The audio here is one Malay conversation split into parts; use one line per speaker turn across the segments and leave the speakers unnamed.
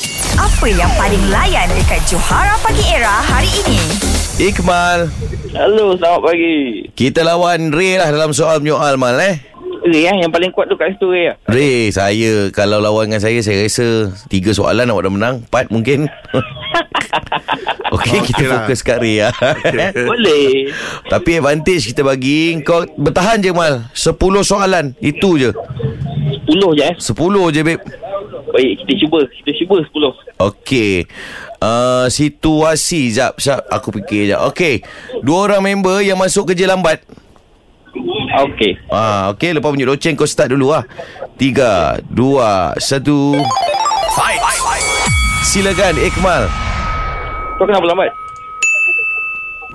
Siapa yang paling layan dekat Johara Pagi Era hari ini?
Iqmal
Hello, selamat pagi.
Kita lawan Ray lah dalam soal menyoal Mal eh
Ray eh, yang paling kuat tu kat situ Ray eh.
Ray saya Kalau lawan dengan saya Saya rasa Tiga soalan awak dah menang Empat mungkin Okey okay, kita
lah.
fokus kat Ray lah.
Boleh.
Tapi advantage kita bagi Kau bertahan je Mal Sepuluh soalan Itu je
Sepuluh je eh.
Sepuluh je babe
Baik, kita cuba. Kita cuba sepuluh.
Okey. Uh, situasi jap, jap aku fikir jap. Okey. Dua orang member yang masuk kerja lambat.
Okey.
Ah, okey lepas bunyi loceng kau start dulu ah. Tiga, dua, satu. Silakan eh, Iqmal.
Kau kenapa lambat?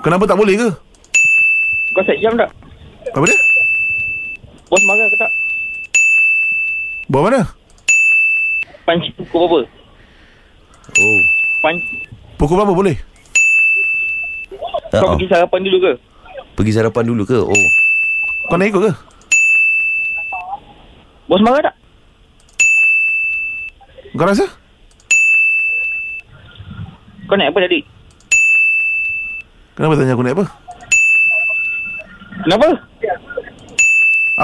Kenapa tak boleh ke?
Kau set jam tak?
Apa dia?
Bos marah ke tak?
Buat mana?
Panci pukul berapa?
Oh.
Panci.
Pukul berapa boleh?
Ya.
Kau pergi sarapan dulu ke?
Ah, pergi sarapan dulu ke? Oh.
Kau nak ikut ke?
Bos marah tak?
Kau rasa?
Kau naik apa tadi?
Kenapa tanya aku naik apa?
Kenapa?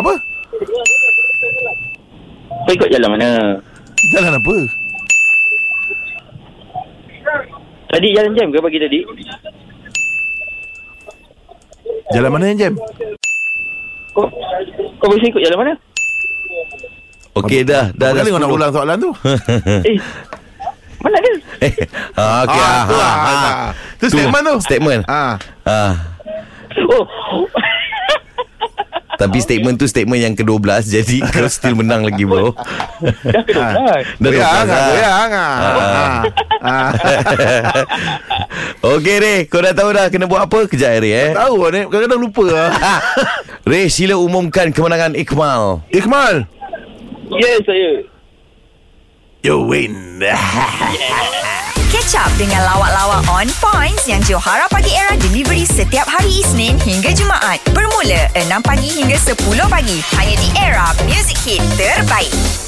Apa?
Kau ikut jalan mana?
Jalan apa?
Tadi jalan jam ke pagi tadi?
Jalan mana yang jam?
Kau kau biasa ikut jalan mana?
Okey dah, dah dah.
Berapa kali kau nak
10.
ulang soalan tu?
eh. Mana dia?
Eh, ah, okey.
Ah,
Ah,
tu lah,
ah, ah,
ah. Tu statement tu.
Statement.
Ah,
Ah.
Oh.
Tapi
Ah,
statement tu statement yang ke-12 Jadi kau still menang lagi bro
Dah kena.
Ah.
Dah.
Dah
goyang,
12 lah.
ah, goyang. ah.
Ah.
Ah.
Okey Ray Kau dah tahu dah Kena buat apa Kejap Ray eh Ah.
Tahu ni, kadang-kadang lupa lah.
Ray sila umumkan Kemenangan Iqmal
Iqmal,
Yes, saya.
you win.
Catch up dengan lawak-lawak on points yang Johara Pagi Era delivery setiap hari Isnin hingga Jumaat. Bermula 6 pagi hingga 10 pagi. Hanya di Era Music Hit Terbaik.